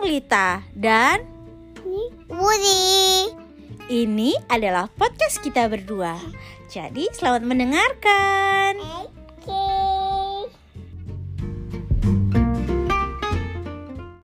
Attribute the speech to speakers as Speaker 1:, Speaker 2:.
Speaker 1: Lita dan
Speaker 2: Woody.
Speaker 1: ini adalah podcast kita berdua. Jadi selamat mendengarkan.
Speaker 2: Oke.